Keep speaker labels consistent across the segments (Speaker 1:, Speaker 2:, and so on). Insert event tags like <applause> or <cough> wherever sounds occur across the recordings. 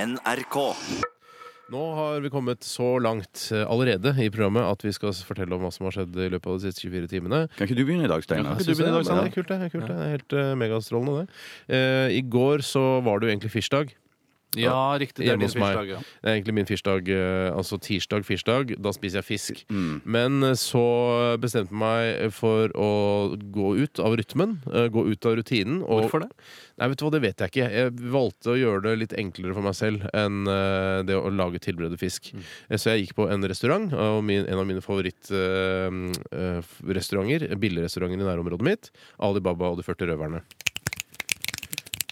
Speaker 1: NRK.
Speaker 2: Nå har vi kommet så langt eh, allerede i programmet at vi skal fortelle om hva som har skjedd i løpet av de siste 24 timene.
Speaker 3: Kan ikke du begynne i dag,
Speaker 2: Ja,
Speaker 3: Steinar?
Speaker 2: kan ikke du begynne i dag, Sander? Kult, det. Kult, det. Helt eh, megastrålende, det. Eh, I går så var det jo egentlig firsdag.
Speaker 4: Ja, riktig. Det er
Speaker 2: Hjemme
Speaker 4: din
Speaker 2: hos meg.
Speaker 4: firsdag, ja.
Speaker 2: Det er egentlig min firsdag, eh, altså tirsdag, firsdag. Da spiser jeg fisk. Men eh, så bestemte jeg meg for å gå ut av rytmen. eh, Gå ut av rutinen. og-
Speaker 4: Hvorfor det?
Speaker 2: Nei, vet du hva, det vet jeg ikke. Jeg valgte å gjøre det litt enklere for meg selv enn eh, det å lage tilberedet fisk.
Speaker 3: Mm.
Speaker 2: Eh, Så jeg gikk på en restaurant, og min, en av mine eh, favorittrestauranter, billigrestauranter i nærområdet mitt, Ali Baba og de 40 røverne.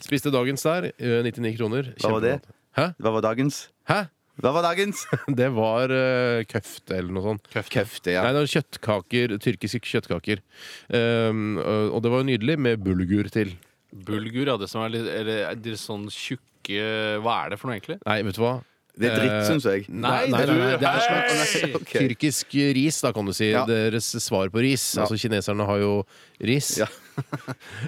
Speaker 2: Spiste dagens der, eh, 99 kroner.
Speaker 3: Hva var det?
Speaker 2: Kjempegodt. Hæ?
Speaker 3: Hva var dagens?
Speaker 2: Hæ? <laughs>
Speaker 3: Hva var dagens?
Speaker 2: Det var eh, køfte eller noe sånt.
Speaker 3: Køfte,
Speaker 2: Nei, det var kjøttkaker, tyrkiske kjøttkaker. Um, og det var jo nydelig med bulgur til.
Speaker 4: Bulgur, ja. Det som er litt eller, er det sånn tjukke Hva er det for noe, egentlig?
Speaker 2: Nei, vet du hva?
Speaker 3: Det er
Speaker 4: Eh,
Speaker 3: dritt, syns jeg.
Speaker 2: Nei, nei, nei, nei, det er
Speaker 4: hei!
Speaker 3: Ok.
Speaker 2: Tyrkisk ris, da, kan du si.
Speaker 3: Ja.
Speaker 2: Deres svar på ris.
Speaker 3: Ja.
Speaker 2: Altså, kineserne har jo ris.
Speaker 4: <laughs>
Speaker 3: Ja.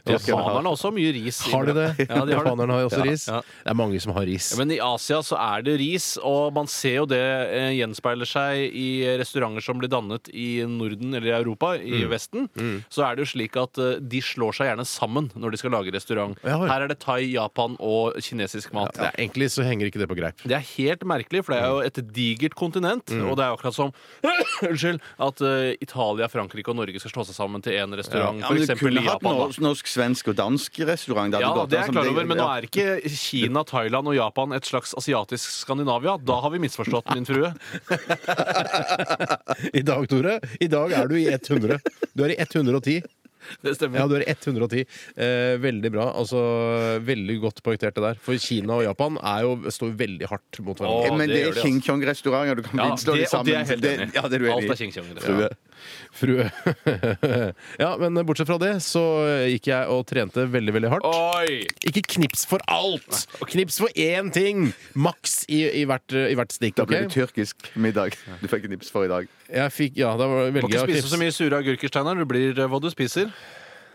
Speaker 4: Japanerne har også mye ris. i-
Speaker 2: Har de det?
Speaker 4: Ja, de har det.
Speaker 2: Japanerne har jo også
Speaker 4: Ja.
Speaker 2: ris.
Speaker 4: Ja.
Speaker 2: Det er mange som har ris.
Speaker 4: Men i Asia så er det ris, og man ser jo det eh, gjenspeiler seg i restauranter som blir dannet i Norden eller i Europa, i
Speaker 2: Mm.
Speaker 4: Vesten. Så er det jo slik at eh, de slår seg gjerne sammen når de skal lage restaurant.
Speaker 2: Ja, vel.
Speaker 4: Her er det thai, Japan og kinesisk mat.
Speaker 2: Ja, egentlig så henger ikke det på greip.
Speaker 4: Det er helt merkelig, for det er jo
Speaker 3: Mm.
Speaker 4: et digert kontinent. Og det er jo akkurat som <clears throat> Unnskyld, at eh, Italia, Frankrike og Norge skal slå seg sammen til én restaurant.
Speaker 3: Ja,
Speaker 4: For
Speaker 3: men du
Speaker 4: eksempel
Speaker 3: kunne
Speaker 4: i
Speaker 3: hatt
Speaker 4: Japan. da.
Speaker 3: norsk, norsk, svensk og dansk restaurant.
Speaker 4: Ja,
Speaker 3: hadde gått
Speaker 4: det
Speaker 3: an
Speaker 4: er jeg
Speaker 3: som
Speaker 4: klar over, men nå
Speaker 3: ja.
Speaker 4: er ikke Kina, Thailand og Japan et slags asiatisk Skandinavia. Da har vi misforstått, min
Speaker 2: <laughs>
Speaker 4: frue.
Speaker 3: <laughs>
Speaker 2: I dag, Tore, i dag er du i 100. Du er i 110.
Speaker 4: Det stemmer.
Speaker 2: Ja, du er i 110. Eh, veldig bra. Altså, veldig godt poengtert det der. For Kina og Japan er jo, står veldig hardt mot hverandre.
Speaker 4: Åh, Ja,
Speaker 3: Eh, Men
Speaker 4: det
Speaker 3: det
Speaker 4: gjør
Speaker 3: er
Speaker 4: de, altså.
Speaker 3: King Kong-restauranter. Du kan
Speaker 4: Ja,
Speaker 3: ikke slå
Speaker 4: det-
Speaker 3: dem
Speaker 4: og
Speaker 3: sammen.
Speaker 4: det er jeg helt enig i.
Speaker 3: ja, det er du
Speaker 4: Alt
Speaker 3: enig
Speaker 4: er
Speaker 3: i.
Speaker 4: King Kong. det.
Speaker 3: Frue.
Speaker 2: Frue. <laughs> ja, men bortsett fra det så gikk jeg og trente veldig, veldig hardt.
Speaker 4: Oi!
Speaker 2: Ikke knips for alt! Knips for én ting! Maks i, i, hvert, i hvert stikk.
Speaker 3: Da
Speaker 2: ok?
Speaker 3: ble det tyrkisk middag. Du fikk nips for i dag.
Speaker 2: Jeg fikk, ja, da var-
Speaker 4: Du må
Speaker 2: velger
Speaker 4: ikke
Speaker 2: jeg
Speaker 4: spise så
Speaker 2: knips.
Speaker 4: mye sure agurker, Steinar. Du blir eh, hva du spiser.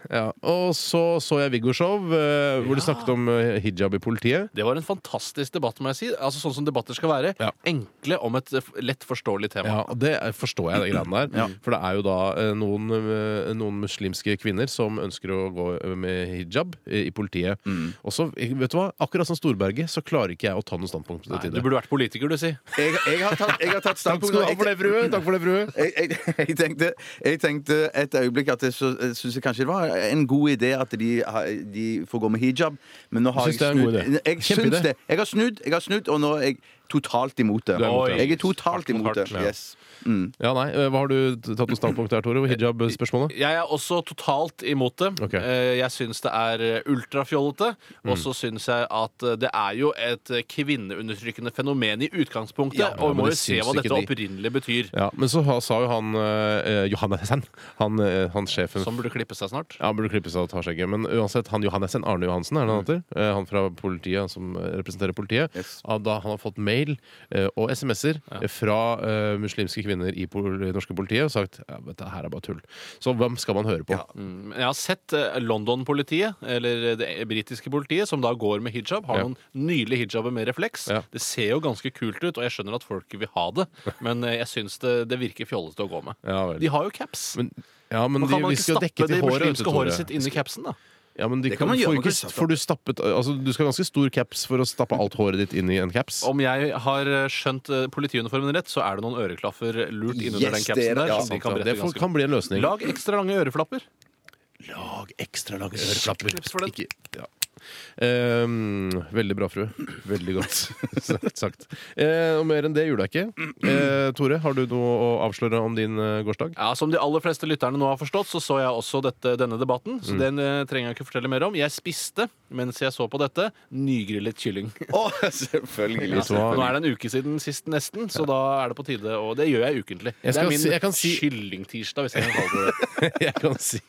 Speaker 2: Ja. Og så så jeg Viggo-show, eh, hvor de snakket om eh, hijab i politiet.
Speaker 4: Det var en fantastisk debatt, må jeg si. Altså Sånn som debatter skal være.
Speaker 2: Ja.
Speaker 4: Enkle om et eh, f- lett forståelig tema.
Speaker 2: Ja, og Det er- forstår jeg, de greiene der. For det er jo da eh, noen, eh, noen muslimske kvinner som ønsker å gå eh, med hijab i i politiet.
Speaker 4: Mm.
Speaker 2: Og så, eh, vet du hva, akkurat som Storberget, så klarer ikke jeg å ta noe standpunkt til
Speaker 4: Nei,
Speaker 2: det.
Speaker 4: du burde vært politiker, du, si.
Speaker 3: Jeg, jeg har tatt, jeg har
Speaker 2: Takk
Speaker 3: tatt standpunkt.
Speaker 2: skal du ha for det, frue! Takk for det, frue.
Speaker 3: jeg, <laughs> jeg, jeg, tenkte, jeg tenkte et øyeblikk at jeg så- jeg syns kanskje det var en god idé at de, har- de får gå med hijab, men nå har
Speaker 2: Syns
Speaker 3: jeg
Speaker 2: det er en god idé.
Speaker 3: snudd. Jeg syns
Speaker 2: Kjempeidé.
Speaker 3: det. Jeg har snudd, jeg har snudd, og nå er jeg totalt imot det.
Speaker 2: Du er imot
Speaker 4: det.
Speaker 3: Jeg er totalt
Speaker 4: Hardt mot
Speaker 3: imot det.
Speaker 4: hardt, ja.
Speaker 3: Yes.
Speaker 2: Ja, nei, eh, Hva har du tatt noe standpunkt der, Tore? Hijab-spørsmålet?
Speaker 4: Jeg er også totalt imot det.
Speaker 2: Ok. Mm.
Speaker 4: Eh, Jeg syns det er eh, ultrafjollete. Og så syns jeg at eh, det er jo et eh, kvinneundertrykkende fenomen i utgangspunktet.
Speaker 2: Ja,
Speaker 4: og
Speaker 2: men
Speaker 4: vi må
Speaker 2: det
Speaker 4: jo se
Speaker 2: syns
Speaker 4: hva
Speaker 2: ikke
Speaker 4: dette
Speaker 2: de.
Speaker 4: opprinnelig betyr.
Speaker 2: Ja, men så ha- sa jo han eh, Johannessen, han, eh, han sjefen
Speaker 4: Som burde klippe seg snart.
Speaker 2: ja, han burde klippe seg og ta skjegget, men uansett, han Johannessen, Arne Johansen, er det
Speaker 4: Mm.
Speaker 2: han heter? Eh, Han fra politiet, han som eh, representerer politiet.
Speaker 3: Yes.
Speaker 2: Ja, Da han har fått mail eh, og SMS-er eh, fra eh, muslimske kvinner i pol det norske politiet og sagt ja, dette her er bare tull. Så hvem skal man høre på?
Speaker 4: Men Jeg har sett eh, London-politiet, eller det britiske politiet, som da går med hijab. Har
Speaker 2: Ja.
Speaker 4: noen nydelige hijaber med refleks.
Speaker 2: Ja.
Speaker 4: Det ser jo ganske kult ut, og jeg skjønner at folk vil ha det, men eh, jeg syns det, det virker fjollete å gå med.
Speaker 2: Ja, vel.
Speaker 4: De har jo caps.
Speaker 2: Men, ja, men
Speaker 4: Men
Speaker 2: de,
Speaker 4: kan man
Speaker 2: vi
Speaker 4: ikke
Speaker 2: skal
Speaker 4: stappe
Speaker 2: dekke
Speaker 4: det
Speaker 2: til håret. vet du,
Speaker 4: muslimske håret
Speaker 2: Tore.
Speaker 4: sitt inn i capsen, da?
Speaker 2: Ja, men de
Speaker 3: Det
Speaker 2: kan
Speaker 3: kan man gjøre,
Speaker 2: får
Speaker 3: man kan
Speaker 2: ikke,
Speaker 3: stappe.
Speaker 2: får du, stappet, altså, du skal ganske stor caps for å stappe alt håret ditt inn i en caps.
Speaker 4: Mm. Om jeg har skjønt eh, politiuniformen rett, så er det noen øreklaffer lurt innunder
Speaker 3: Yes,
Speaker 4: den capsen
Speaker 3: det er det.
Speaker 4: der.
Speaker 3: Ja,
Speaker 4: som de
Speaker 2: Sant,
Speaker 4: kan
Speaker 2: ja.
Speaker 4: brette
Speaker 2: det får,
Speaker 4: ganske
Speaker 2: kan bli en løsning.
Speaker 4: godt. Lag ekstra lange øreflapper.
Speaker 2: Lag ekstra lange øreflapper.
Speaker 4: Knips for den.
Speaker 2: Ikke, ja. Ehm, veldig bra, frue. Veldig godt <laughs> sagt. sagt. Eh, og mer enn det gjorde jeg ikke. Eh, Tore, har du noe å avsløre om din eh, gårsdag?
Speaker 4: Ja, Som de aller fleste lytterne nå har forstått, så så jeg også dette, denne debatten.
Speaker 2: Mm.
Speaker 4: Så den eh, trenger jeg ikke fortelle mer om. Jeg spiste mens jeg så på dette, nygrillet kylling.
Speaker 3: Å, <laughs> selvfølgelig. Eh,
Speaker 2: Vet du hva?
Speaker 4: Nå er det en uke siden sist, nesten, så da er det på tide. Og det gjør jeg ukentlig.
Speaker 2: Jeg
Speaker 4: det
Speaker 2: skal
Speaker 4: er min
Speaker 2: si- jeg kan si-
Speaker 4: kyllingtirsdag, hvis jeg kan kalle det det.
Speaker 2: <laughs> Jeg kan si,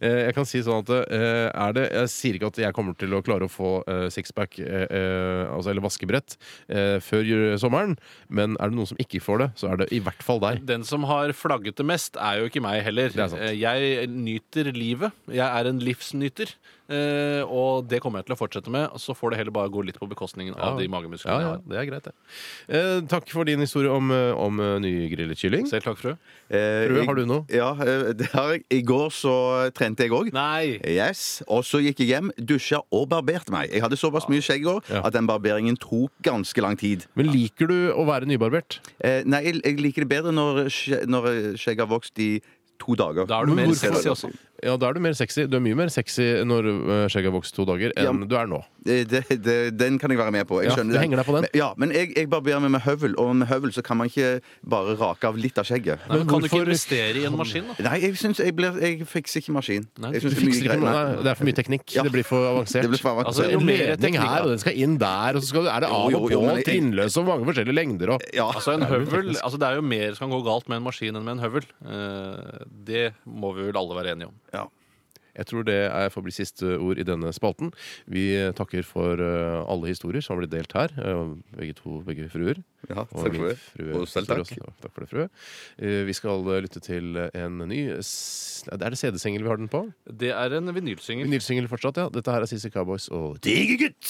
Speaker 2: eh, jeg kan si sånn at eh, er det, Jeg sier ikke at jeg kommer til å klare å få eh, sixpack eh, eh, altså, eller vaskebrett eh, før ju- sommeren, men er det noen som ikke får det, så er det i hvert fall deg.
Speaker 4: Den som har flagget det mest, er jo ikke meg heller.
Speaker 2: Det er sant.
Speaker 4: Eh, Jeg nyter livet. Jeg er en livsnyter. Eh, eh, og det kommer jeg til å fortsette med. Så får det heller bare gå litt på bekostningen av de
Speaker 2: Ja,
Speaker 4: magemusklene
Speaker 2: ja,
Speaker 4: jeg har.
Speaker 2: det er greit, det. Eh, takk for din historie om, eh, om eh, nygrillet kylling.
Speaker 4: Selv takk, frø.
Speaker 3: Eh,
Speaker 2: Frø,
Speaker 3: jeg-
Speaker 2: har du noe?
Speaker 3: Ja, eh, det har jeg. I går så trente jeg òg.
Speaker 4: Nei!
Speaker 3: Yes. Og så gikk jeg hjem, dusja og barberte meg. Jeg hadde såpass mye skjegg i går
Speaker 2: Ja.
Speaker 3: at den barberingen tok ganske lang tid.
Speaker 2: Men liker du å være nybarbert?
Speaker 3: Eh, nei, jeg, jeg liker det bedre når, skje- når skjegget har vokst i to dager.
Speaker 4: Da er du
Speaker 2: Men
Speaker 4: mer
Speaker 2: hvorfor-
Speaker 4: sexy også.
Speaker 2: Ja, da er du mer sexy. Du er mye mer sexy når eh, skjegget har vokst to dager, enn
Speaker 3: Ja, men-
Speaker 2: du er nå.
Speaker 3: Eh, det, det, den kan jeg være med på. Jeg
Speaker 2: Ja,
Speaker 3: skjønner
Speaker 2: du henger deg på den.
Speaker 3: Men, ja, men jeg, jeg barberer meg med høvel, og med høvel så kan man ikke bare rake av litt av skjegget.
Speaker 4: Nei, men kan du ikke
Speaker 2: hvorfor-
Speaker 4: investere i en maskin, da?
Speaker 3: Nei, jeg syns jeg, blir- jeg fikser ikke maskin.
Speaker 4: Nei,
Speaker 3: jeg
Speaker 2: Du
Speaker 3: synes det er mye
Speaker 2: fikser ikke
Speaker 3: greier.
Speaker 2: noe,
Speaker 3: Nei.
Speaker 2: nei, det er for mye teknikk.
Speaker 3: Ja.
Speaker 2: Det blir for avansert.
Speaker 3: Det blir for avansert.
Speaker 2: Altså,
Speaker 4: Jo
Speaker 2: en
Speaker 4: mer
Speaker 2: ledning
Speaker 4: teknikk,
Speaker 2: her,
Speaker 4: da.
Speaker 2: og den skal inn der, og så skal, er det av
Speaker 3: Jo,
Speaker 2: og
Speaker 3: jo, jo,
Speaker 2: på,
Speaker 3: men jeg-
Speaker 2: trinnløs og mange forskjellige lengder og
Speaker 3: Ja.
Speaker 4: Altså en høvel, altså Det er jo mer som kan gå galt med en maskin enn med en høvel. Eh, Det må vi vel alle være enige om.
Speaker 3: ja.
Speaker 2: Jeg tror det er får bli siste ord i denne spalten. Vi takker for eh, alle historier som har blitt delt her. eh, Begge to, begge fruer.
Speaker 3: Ja,
Speaker 2: Og
Speaker 3: selv
Speaker 2: min
Speaker 3: frue.
Speaker 2: frue
Speaker 3: Og selv
Speaker 2: står
Speaker 3: takk.
Speaker 2: også. Takk for det, frue. Eh, Vi skal eh, lytte til en ny s- Er det CD-singel vi har den på?
Speaker 4: Det er en vinylsyngel.
Speaker 2: Nils-singel fortsatt, ja. Dette her er CC Cowboys og Digergutt!